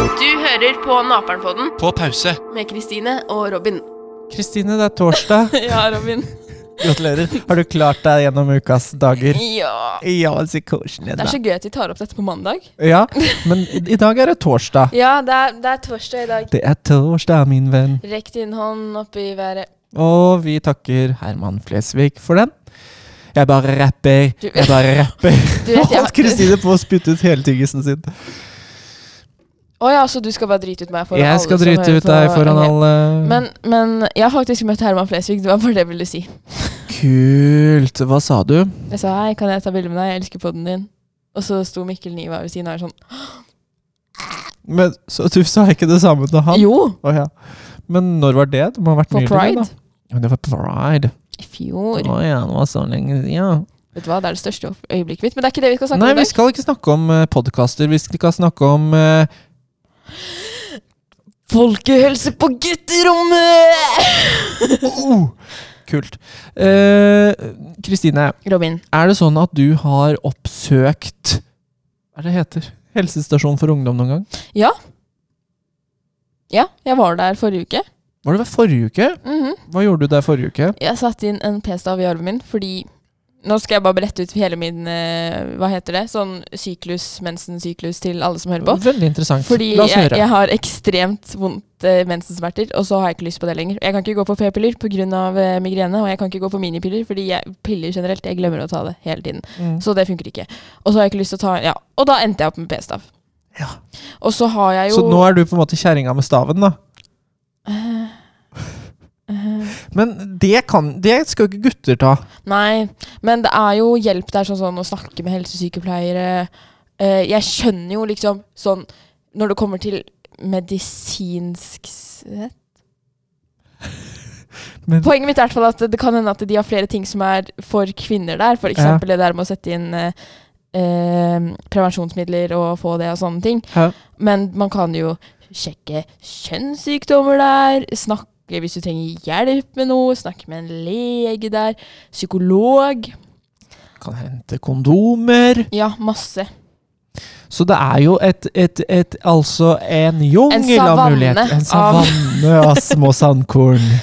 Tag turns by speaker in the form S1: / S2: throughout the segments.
S1: hører på Naperen-podden
S2: På pause.
S1: med Kristine og Robin.
S3: Kristine, det er torsdag.
S1: Ja, Robin.
S3: Gratulerer. Har du klart deg gjennom ukas dager?
S1: Ja.
S3: Ja, så koselig.
S1: Det er så gøy at vi tar opp dette på mandag.
S3: Ja, men i dag er det torsdag.
S1: Ja, det er, det er torsdag i dag.
S3: Det er torsdag, min venn.
S1: Rekk din hånd opp i været.
S3: Og vi takker Herman Flesvig for den. Jeg bare rapper.
S1: Du-
S3: Jeg bare rapper.
S1: Du vet, jeg-
S3: Holdt Kristine på å spytte ut hele tyggisen sin.
S1: Å ja, så du skal bare drite ut meg foran alle
S3: Jeg skal
S1: som
S3: drite
S1: hører
S3: ut
S1: på-
S3: deg foran
S1: Ok.
S3: alle.
S1: Men, men jeg har faktisk møtt Herman Flesvig. Det var bare det jeg ville si.
S3: Kult. Hva sa du?
S1: Jeg sa hei, kan jeg ta bilde med deg? Jeg elsker podden din. Og så sto Mikkel Niva ved siden av og sånn.
S3: Men så du sa ikke det samme til han?
S1: Jo!
S3: Å, ja. Men når var det? Det må ha vært
S1: På
S3: nylig.
S1: Pride.
S3: da. Ja, Det var pride.
S1: I fjor.
S3: Å ja, det var så lenge siden. Ja.
S1: Vet du hva, det er det største opp- øyeblikket mitt. Men det er ikke det vi skal snakke
S3: Nei,
S1: om i
S3: vi
S1: dag.
S3: skal ikke snakke om uh, podkaster. Vi skal snakke om eh,
S1: Folkehelse på gutterommet!
S3: oh, Kult. Eh, Kristine,
S1: Robin.
S3: er det sånn at du har oppsøkt Hva er det heter? Helsestasjon for ungdom noen gang?
S1: Ja, jeg var der forrige uke.
S3: Var det ved forrige uke?
S1: Mhm.
S3: Hva gjorde du der forrige uke?
S1: Jeg satte inn en p-stav i armen min fordi Nå skal jeg bare brette ut hele min eh, Hva heter det? Sånn syklus, mensensyklus til alle som hører på.
S3: Veldig interessant.
S1: Fordi
S3: La oss
S1: jeg,
S3: høre.
S1: jeg har ekstremt vondt eh, mensensmerter, og så har jeg ikke lyst på det lenger. Jeg kan ikke gå på p-piller pga. Uh, migrene, og jeg kan ikke gå på minipiller fordi jeg, piller generelt, jeg glemmer å ta det hele tiden.
S3: Mm.
S1: Så det funker ikke. Og så har jeg ikke lyst til å ta Ja, og da endte jeg opp med p-stav.
S3: Ja.
S1: Og så har jeg jo
S3: Så nå er du på en måte kjerringa med staven, da?
S1: Eh, eh,
S3: Men det, kan, det skal jo ikke gutter ta.
S1: Nei, men det er jo hjelp der, sånn, sånn å snakke med helsesykepleiere. Eh, jeg skjønner jo liksom sånn Når det kommer til medisinsk s-
S3: Men-
S1: Poenget mitt er i hvert fall at det kan hende at de har flere ting som er for kvinner der. F.eks.
S3: Ja.
S1: eksempel det der med å sette inn eh, eh, prevensjonsmidler og få det og sånne ting.
S3: Ja.
S1: Men man kan jo sjekke kjønnssykdommer der, snakke hvis du trenger hjelp med noe, snakke med en lege der, psykolog.
S3: Kan hente kondomer.
S1: Ja, masse.
S3: Så det er jo et, et, et altså en jungel av
S1: savanne
S3: muligheter. En
S1: av-
S3: savanne av små sandkorn.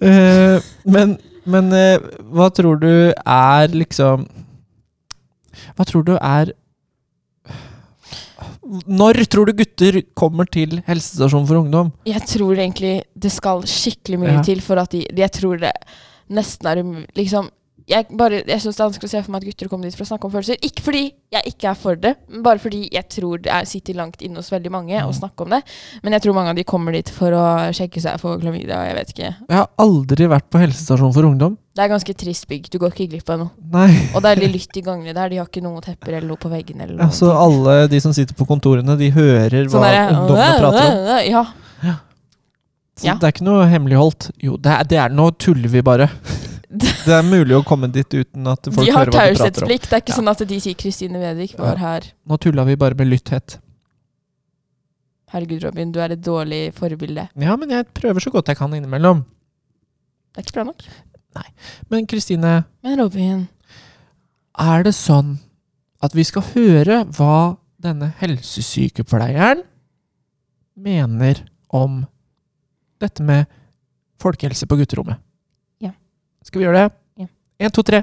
S3: Eh, men men eh, hva tror du er liksom Hva tror du er Når tror du gutter kommer til helsestasjonen for ungdom?
S1: Jeg tror egentlig det skal skikkelig mye
S3: Ja.
S1: til for at de Jeg tror det nesten er umulig. Liksom, jeg bare, jeg syns det er vanskelig å se for meg at gutter kommer dit for å snakke om følelser. Ikke fordi jeg ikke er for det, men bare fordi jeg tror det er, sitter langt inne hos veldig mange å
S3: Mm.
S1: snakke om det. Men jeg tror mange av de kommer dit for å sjekke seg for klamydia, jeg vet ikke.
S3: Jeg har aldri vært på helsestasjon for ungdom.
S1: Det er ganske trist bygg. Du går ikke glipp av noe.
S3: Nei.
S1: Og det er litt lytt i gangene der. De har ikke noen tepper eller noe på veggene. eller noe.
S3: Altså,
S1: Sånn
S3: alle de som sitter på kontorene, de hører hva
S1: der,
S3: ungdommene prater om.
S1: Ja.
S3: Så
S1: Ja.
S3: Det er ikke noe hemmeligholdt. Jo, det er, det er nå tuller vi bare. Det er mulig å komme dit uten at folk
S1: De har
S3: hører hva de prater om.
S1: taushetsplikt. Det er ikke
S3: Ja.
S1: sånn at de sier 'Kristine Vedvik var her'.
S3: Nå tulla vi bare med lytthet.
S1: Herregud, Robin, du er et dårlig forbilde.
S3: Ja, men jeg prøver så godt jeg kan innimellom.
S1: Det er ikke bra nok.
S3: Men Kristine,
S1: Men Robin
S3: er det sånn at vi skal høre hva denne helsesykepleieren mener om dette med folkehelse på gutterommet?
S1: Ja.
S3: Skal vi gjøre det?
S1: Ja.
S3: Én, to, tre.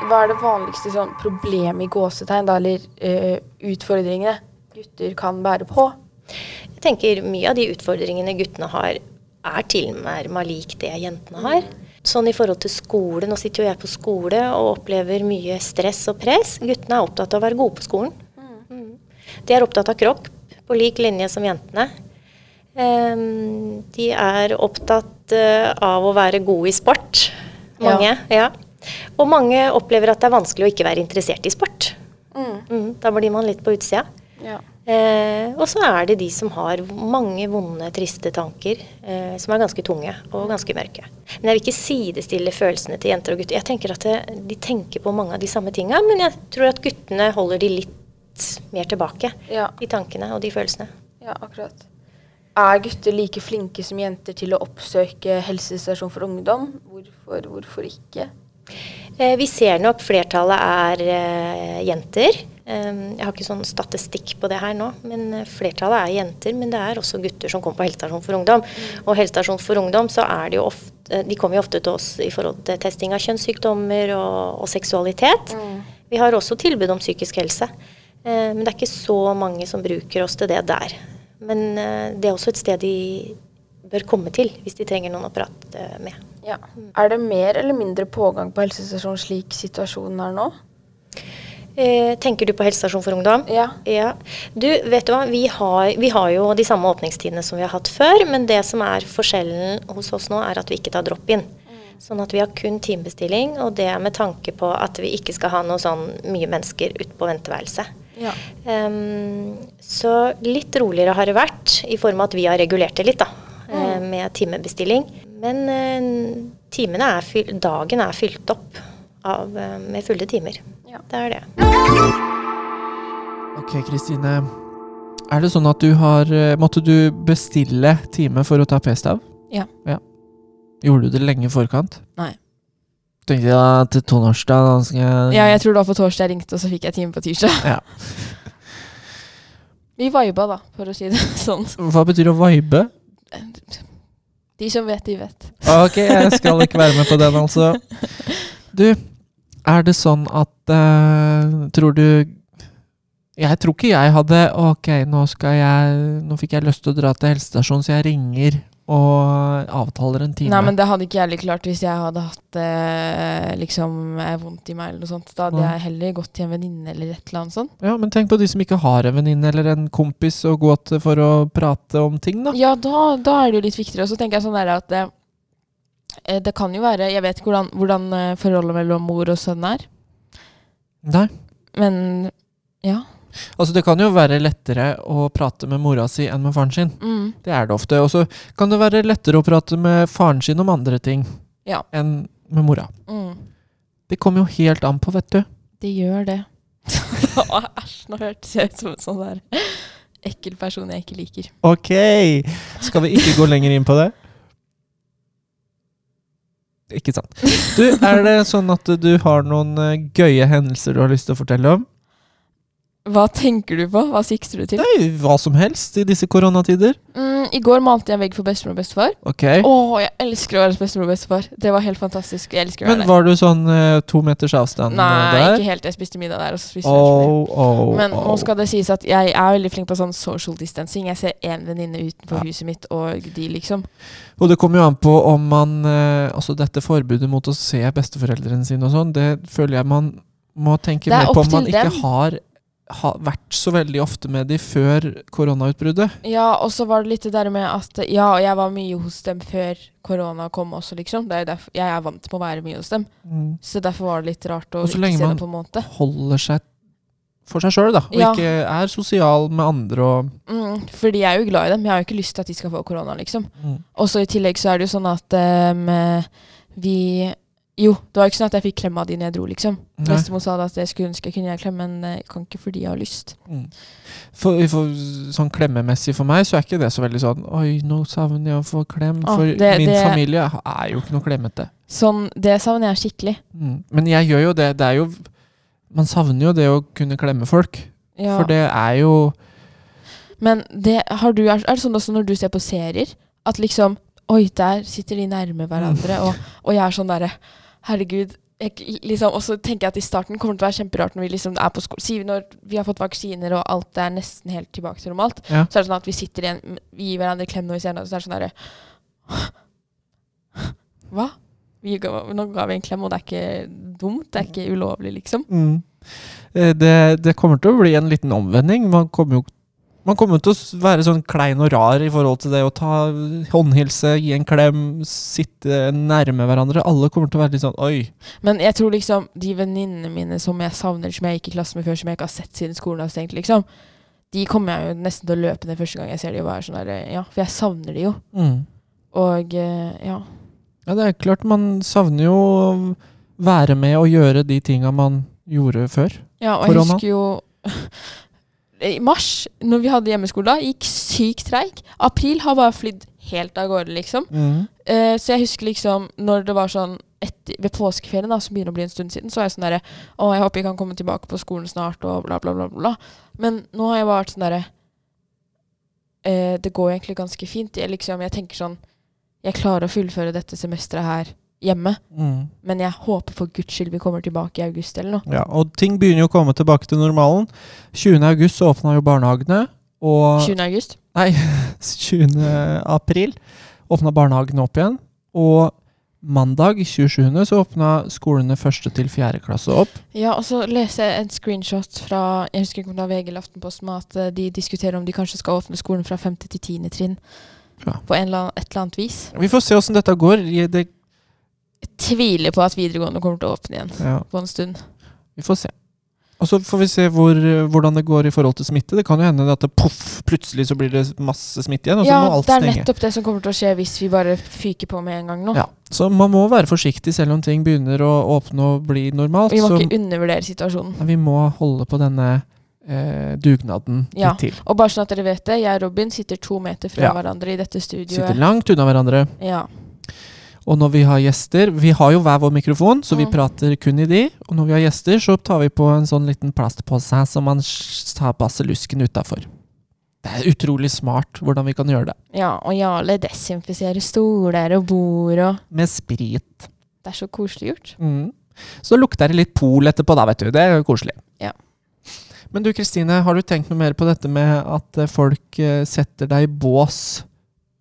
S1: Hva er det vanligste sånn problemet i gåsetegn, da, eller eh, utfordringene gutter kan bære på?
S4: Jeg tenker mye av de utfordringene guttene har, er tilnærma lik det jentene har. Sånn i forhold til skole, nå sitter jo jeg på skole og opplever mye stress og press. Guttene er opptatt av å være gode på skolen. Mm. De er opptatt av kropp, på lik linje som jentene. Ehm, De er opptatt eh, av å være gode i sport. Mange. Ja. Og mange opplever at det er vanskelig å ikke være interessert i sport. Mm, da blir man litt på utsida. Eh, og så er det de som har mange vonde, triste tanker, eh, som er ganske tunge og ganske mørke. Men jeg vil ikke sidestille følelsene til jenter og gutter. Jeg tenker at eh, De tenker på mange av de samme tinga, men jeg tror at guttene holder de litt mer tilbake.
S5: Ja,
S4: De tankene og de følelsene.
S5: ja, akkurat. Er gutter like flinke som jenter til å oppsøke helsestasjon for ungdom? Hvorfor, hvorfor ikke?
S4: Eh, vi ser nok flertallet er eh, jenter. Ehm, Jeg har ikke sånn statistikk på det her nå, men eh, flertallet er jenter. Men det er også gutter som kommer på helsestasjon for ungdom. Og helsestasjon for ungdom, så er det jo ofte eh, De kommer jo ofte til oss i forhold til testing av kjønnssykdommer og, og seksualitet. Vi har også tilbud om psykisk helse. Eh, Men det er ikke så mange som bruker oss til det der. Men eh, det er også et sted de bør komme til hvis de trenger noen å prate med.
S5: Ja. Er det mer eller mindre pågang på helsestasjonen slik situasjonen er nå?
S4: Eh, Tenker du på helsestasjon for ungdom?
S5: Ja.
S4: Ja. Du, vet du hva? Vi har, vi har jo de samme åpningstidene som vi har hatt før, men det som er forskjellen hos oss nå, er at vi ikke tar drop-in.
S5: Mm.
S4: Sånn at vi har kun timebestilling, og det er med tanke på at vi ikke skal ha noe sånn mye mennesker ute på venteværelset.
S5: Ja.
S4: Ehm, så litt roligere har det vært, i form av at vi har regulert det litt, da.
S5: Mm.
S4: eh, Med timebestilling. Men eh, timene er fyl dagen er fylt opp av, eh, med fulle timer.
S5: Ja.
S4: Det er det.
S3: Ok, Kristine. Er det sånn at du har eh, Måtte du bestille time for å ta p-stav?
S1: Ja.
S3: Gjorde du det lenge i forkant?
S1: Nei.
S3: Tenkte jeg ja, til torsdag da skal jeg
S1: Ja, jeg tror det var på torsdag jeg ringte, og så fikk jeg time på tirsdag.
S3: Ja.
S1: Vi viba, da, for å si det sånn.
S3: Hva betyr å vibe? Ah,
S1: De som vet, de vet.
S3: Ok, jeg skal ikke være med på den, altså. Du, er det sånn at eh, Tror du Jeg tror ikke jeg hadde Ok, nå skal jeg Nå fikk jeg lyst til å dra til helsestasjonen, så jeg ringer og avtaler en time.
S1: Nei, men det hadde ikke jeg heller klart hvis jeg hadde hatt eh, liksom eh, vondt i meg eller noe sånt. Da hadde
S3: Nei.
S1: jeg heller gått til en venninne eller et eller annet sånt.
S3: Ja, men tenk på de som ikke har en venninne eller en kompis å gå til for å prate om ting, da.
S1: Ja, da, da er det jo litt viktigere. Og så tenker jeg sånn der at eh, eh, det kan jo være Jeg vet ikke hvordan, hvordan eh, forholdet mellom mor og sønn er,
S3: Nei.
S1: men ja.
S3: Altså, det kan jo være lettere å prate med mora si enn med faren sin.
S1: Mm.
S3: Det er det ofte. Og så kan det være lettere å prate med faren sin om andre ting
S1: Ja.
S3: enn med mora.
S1: Mm.
S3: Det kommer jo helt an på, vet du.
S1: Det gjør det. Å, Æsj, nå hørtes jeg ut som en sånn der ekkel person jeg ikke liker.
S3: Ok! Skal vi ikke gå lenger inn på det? Ikke sant. Du, er det sånn at du har noen eh, gøye hendelser du har lyst til å fortelle om?
S1: Hva tenker du på? Hva sikter du til?
S3: Nei, hva som helst i disse koronatider.
S1: Mm, I går malte jeg en vegg for bestemor og bestefar.
S3: Ok.
S1: Å, jeg elsker å være hos bestemor og bestefar. Det var helt fantastisk. Jeg elsker å
S3: Men
S1: være der.
S3: var du sånn eh, to meters avstand eh,
S1: Nei,
S3: der?
S1: ikke helt. Jeg spiste middag der. og så spiste vi lunsj der.
S3: Oh, oh,
S1: Men
S3: oh.
S1: nå skal det sies at jeg er veldig flink på sånn social distancing. Jeg ser én venninne utenfor
S3: Ja.
S1: huset mitt, og de liksom
S3: Og det kommer jo an på om man eh, Altså dette forbudet mot å se besteforeldrene sine og sånn, det føler jeg man må tenke
S1: Det er
S3: mer på
S1: opp
S3: om man
S1: til
S3: ikke
S1: dem.
S3: har, har vært så veldig ofte med de før koronautbruddet.
S1: Ja, og så var det litt det der med at Ja, og jeg var mye hos dem før korona kom også, liksom. Det er jo derfor, jeg er vant med å være mye hos dem. Så derfor var det litt rart å
S3: Og så
S1: ikke
S3: lenge
S1: se
S3: man-
S1: dem på en måned.
S3: Mm. Holder seg for seg sjøl, da. Og
S1: Ja.
S3: ikke er sosial med andre og
S1: Mm, fordi jeg er jo glad i dem. Jeg har jo ikke lyst til at de skal få korona, liksom.
S3: mm.
S1: Og så i tillegg så er det jo sånn at ehm, eh, vi Jo, det var jo ikke sånn at jeg fikk klem av de når jeg dro, liksom.
S3: Nei.
S1: Bestemor sa da at jeg skulle ønske jeg kunne gi deg klem, men eh, jeg kan ikke fordi jeg har lyst.
S3: for, for, Sånn klemmemessig for meg, så er ikke det så veldig sånn Oi, nå savner jeg å få klem.
S1: Ah,
S3: For
S1: det-
S3: min
S1: det-
S3: familie er jo ikke noe klemmete.
S1: Sånn, Det savner jeg skikkelig.
S3: Mm. Men jeg gjør jo det. Det er jo Man savner jo det å kunne klemme folk.
S1: Ja.
S3: For det er jo
S1: Men det, har du, er, er det sånn også når du ser på serier, at liksom Oi, der sitter de nærme hverandre, og, og jeg er sånn derre Herregud. Jeg, liksom, og så tenker jeg at i starten kommer det til å være kjemperart når vi liksom er på skole. Si vi når vi har fått vaksiner og alt er nesten helt tilbake til normalt,
S3: Ja.
S1: så er det sånn at vi sitter igjen, vi gir hverandre klem når vi ser hverandre, så er det sånn derre Hva? Vi ga, nå ga vi en klem, og det er ikke dumt. Det er ikke ulovlig, liksom.
S3: Eh, det, det kommer til å bli en liten omvending. Man kommer jo man kommer til å s- være sånn klein og rar i forhold til det å ta håndhilse, gi en klem, sitte nærme hverandre. Alle kommer til å være litt sånn Oi.
S1: Men jeg tror liksom de venninnene mine som jeg savner, som jeg gikk i klasse med før, som jeg ikke har sett siden skolen har stengt, liksom, de kommer jeg jo nesten til å løpe ned første gang jeg ser de og være sånn der, ja, for jeg savner de jo. Og eh, ja.
S3: Ja, det er klart man savner jo å være med og gjøre de tinga man gjorde før.
S1: ja og jeg
S3: Korona?
S1: husker jo i mars, når vi hadde hjemmeskole da, gikk sykt treig.
S3: Mm.
S1: April har bare flydd helt av gårde, liksom. Eh, så jeg husker liksom når det var sånn etter, ved påskeferien, da, som begynner å bli en stund siden, så er jeg sånn derre Å, jeg håper jeg kan komme tilbake på skolen snart, og bla, bla, bla. bla. Men nå har jeg bare vært sånn derre eh, Det går egentlig ganske fint. Jeg, liksom, jeg tenker sånn Jeg klarer å fullføre dette semesteret her hjemme,
S3: Mm.
S1: men jeg håper for guds skyld vi kommer tilbake i august eller noe.
S3: Ja, og ting begynner jo å komme tilbake til normalen. 20. august så åpna jo barnehagene, og
S1: 20. august.
S3: Nei, 20. april åpna barnehagene opp igjen. Og mandag 27. så åpna skolene første til fjerde klasse opp.
S1: Ja, og så leser jeg en screenshot fra jeg husker ikke om det var VG eller Aftenposten, med at eh, de diskuterer om de kanskje skal åpne skolen fra 5. til 10. trinn.
S3: Ja.
S1: På en eller annen, et eller annet vis.
S3: Vi får se åssen dette går. I Det,
S1: Jeg tviler på at videregående kommer til å åpne igjen
S3: ja,
S1: på en stund.
S3: vi får se. Og så får vi se hvor, eh, hvordan det går i forhold til smitte. Det kan jo hende at det poff, plutselig så blir det masse smitte igjen, og så
S1: Ja,
S3: må alt
S1: det er
S3: stenge.
S1: nettopp det som kommer til å skje hvis vi bare fyker på med en gang nå.
S3: Ja, så man må være forsiktig selv om ting begynner å åpne og bli normalt.
S1: Vi må
S3: så
S1: ikke undervurdere situasjonen.
S3: vi må holde på denne eh, dugnaden
S1: Ja.
S3: litt til.
S1: Og bare sånn at dere vet det, jeg og Robin sitter to meter fra
S3: Ja.
S1: hverandre i dette
S3: Sitte
S1: studioet.
S3: langt unna hverandre.
S1: Ja.
S3: Og når vi har gjester Vi har jo hver vår mikrofon, så vi
S1: Mm.
S3: prater kun i de. Og når vi har gjester, så tar vi på en sånn liten plastpose her som man s- tar baselusken utafor. Det er utrolig smart hvordan vi kan gjøre det.
S1: ja, og Jarle desinfiserer stoler og bord og
S3: Med sprit.
S1: Det er så koselig gjort.
S3: Mm. Så lukter det litt pol etterpå, da, vet du. Det er jo koselig.
S1: Ja.
S3: Men du Kristine, har du tenkt noe mer på dette med at eh, folk eh, setter deg i bås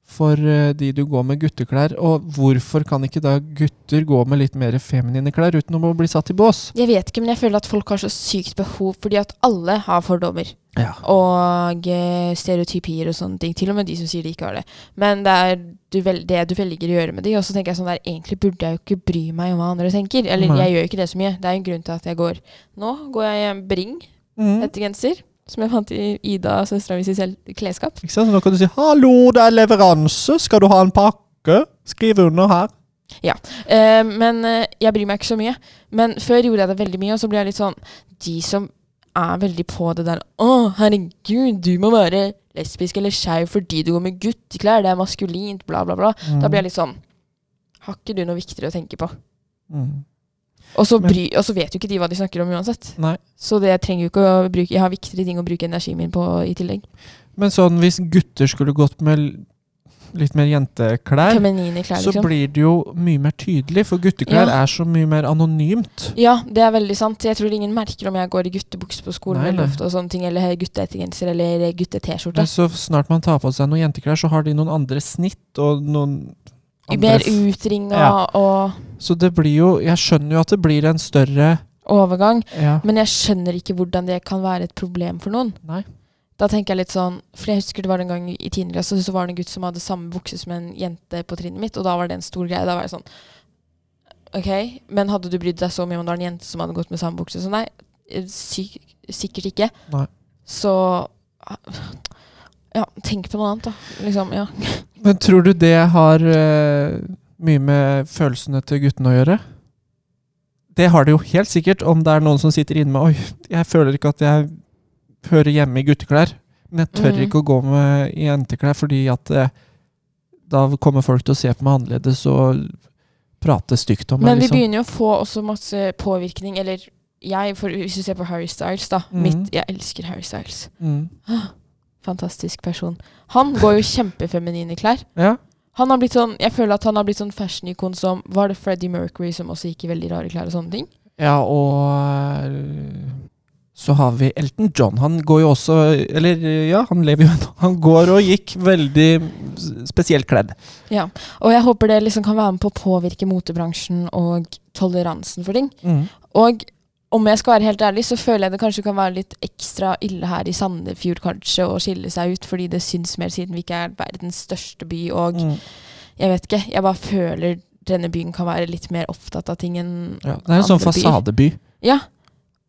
S3: for eh, de du går med gutteklær? Og hvorfor kan ikke da gutter gå med litt mer feminine klær uten å bli satt i bås?
S1: Jeg vet ikke, men jeg føler at folk har så sykt behov, fordi at alle har fordommer
S3: Ja.
S1: og eh, stereotypier og sånne ting. Til og med de som sier de ikke har det. Men det er du vel, det du velger å gjøre med de, og så tenker jeg sånn der, egentlig burde jeg jo ikke bry meg om hva andre tenker. Eller
S3: Nei.
S1: jeg gjør jo ikke det så mye. Det er jo en grunn til at jeg går Nå går jeg i en Bring
S3: Mm.
S1: hettegenser, som jeg fant i Ida, søstera mi, sitt klesskap.
S3: Ikke sant? Så nå kan du si 'hallo, det er leveranse, skal du ha en pakke?' Skriv under her.
S1: Eh, men eh, jeg bryr meg ikke så mye. Men før gjorde jeg det veldig mye, og så ble jeg litt sånn De som er veldig på det der Å, herregud, du må være lesbisk eller skeiv fordi du går med gutteklær, det er maskulint, bla, bla, bla. Da blir jeg litt sånn Har ikke du noe viktigere å tenke på?
S3: Mm.
S1: Og så,
S3: Men-
S1: bry, og så vet jo ikke de hva de snakker om uansett.
S3: Nei.
S1: Så det jeg trenger jo ikke å bruke Jeg har viktigere ting å bruke energien min på i tillegg.
S3: Men sånn hvis gutter skulle gått med l- litt mer jenteklær,
S1: Feminine klær,
S3: så
S1: liksom.
S3: blir det jo mye mer tydelig, for gutteklær er så mye mer anonymt.
S1: Ja, det er veldig sant. Jeg tror ingen merker om jeg går i guttebukse på skolen
S3: Nei,
S1: veldig
S3: nei.
S1: ofte, og sånne ting, eller gutteettergenser eller gutte-T-skjorte.
S3: Men så snart man tar på seg noen jenteklær, så har de noen andre snitt og noen andre
S1: Mer
S3: f-
S1: utringa
S3: Ja.
S1: og
S3: Så det blir jo Jeg skjønner jo at det blir en større
S1: overgang.
S3: ja.
S1: Men jeg skjønner ikke hvordan det kan være et problem for noen.
S3: Nei.
S1: Da tenker jeg litt sånn, for jeg husker det var en gang i tiende klasse, så var det en gutt som hadde samme bukse som en jente på trinnet mitt, og da var det en stor greie. Da var jeg sånn Ok, men hadde du brydd deg så mye om det var en jente som hadde gått med samme bukse? Så nei, eh, syk, sikkert ikke.
S3: Nei.
S1: Så ja, tenk på noe annet, da. Liksom, ja.
S3: Men tror du det har eh, mye med følelsene til guttene å gjøre? Det har det jo helt sikkert, om det er noen som sitter inne med Oi, jeg føler ikke at jeg hører hjemme i gutteklær. Men jeg tør
S1: Mhm.
S3: ikke å gå med i jenteklær, fordi at eh, da kommer folk til å se på meg annerledes og prate stygt om meg.
S1: Men vi
S3: liksom.
S1: begynner jo å få også masse påvirkning, eller jeg, for hvis du ser på Harry Styles, da.
S3: Mhm.
S1: Mitt, jeg elsker Harry Styles. Ah,
S3: Mm.
S1: Fantastisk person. Han går jo kjempefeminine klær.
S3: Ja.
S1: Han har blitt sånn, jeg føler at han har blitt sånn fashion-ikon som Var det Freddie Mercury som også gikk i veldig rare klær og sånne ting?
S3: Ja, og eh, så har vi Elton John. Han går jo også Eller eh, ja, han lever jo ennå. Han går og gikk veldig s- spesielt kledd.
S1: Og jeg håper det liksom kan være med på å påvirke motebransjen og toleransen for ting.
S3: Mm.
S1: Og om jeg skal være helt ærlig, så føler jeg det kanskje kan være litt ekstra ille her i Sandefjord kanskje å skille seg ut, fordi det syns mer siden vi ikke er verdens største by. Og
S3: Mm.
S1: jeg vet ikke, jeg bare føler denne byen kan være litt mer opptatt av ting enn
S3: Ja, det er en sånn
S1: Andre byer.
S3: fasadeby.
S1: Ja.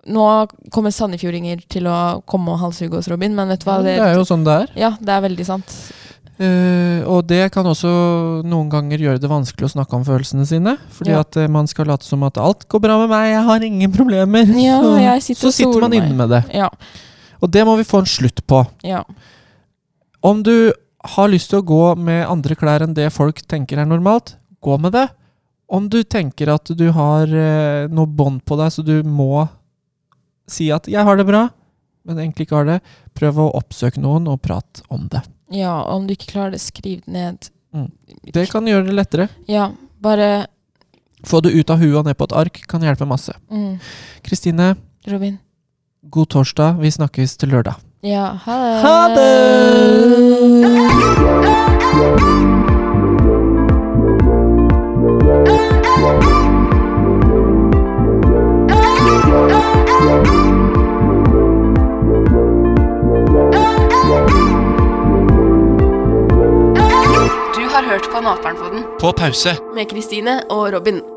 S1: Nå kommer sandefjordinger til å komme og halshugge oss, Robin, men vet du hva?
S3: Det
S1: Det,
S3: er jo sånn det er.
S1: ja, det er veldig sant.
S3: Eh, og det kan også noen ganger gjøre det vanskelig å snakke om følelsene sine. Fordi
S1: Ja.
S3: at eh, man skal late som at alt går bra med meg, jeg har ingen problemer.
S1: Ja,
S3: Så-
S1: jeg sitter
S3: så
S1: og soler
S3: sitter man
S1: meg.
S3: inne med det.
S1: Ja.
S3: Og det må vi få en slutt på.
S1: ja.
S3: Om du har lyst til å gå med andre klær enn det folk tenker er normalt, gå med det. Om du tenker at du har eh, noe bånd på deg, så du må si at 'jeg har det bra', men egentlig ikke har det, prøv å oppsøke noen og prate om det.
S1: Ja, om du ikke klarer det, skriv det ned.
S3: Mm. Det kan gjøre det lettere.
S1: Ja, bare
S3: Få det ut av huet og ned på et ark kan hjelpe masse.
S1: mm,
S3: Kristine,
S1: Robin.
S3: god torsdag. Vi snakkes til lørdag.
S1: Ja,
S3: Ha
S1: ha det!
S3: det!
S5: Du har hørt på Naperen på den
S2: På pause.
S5: med Kristine og Robin.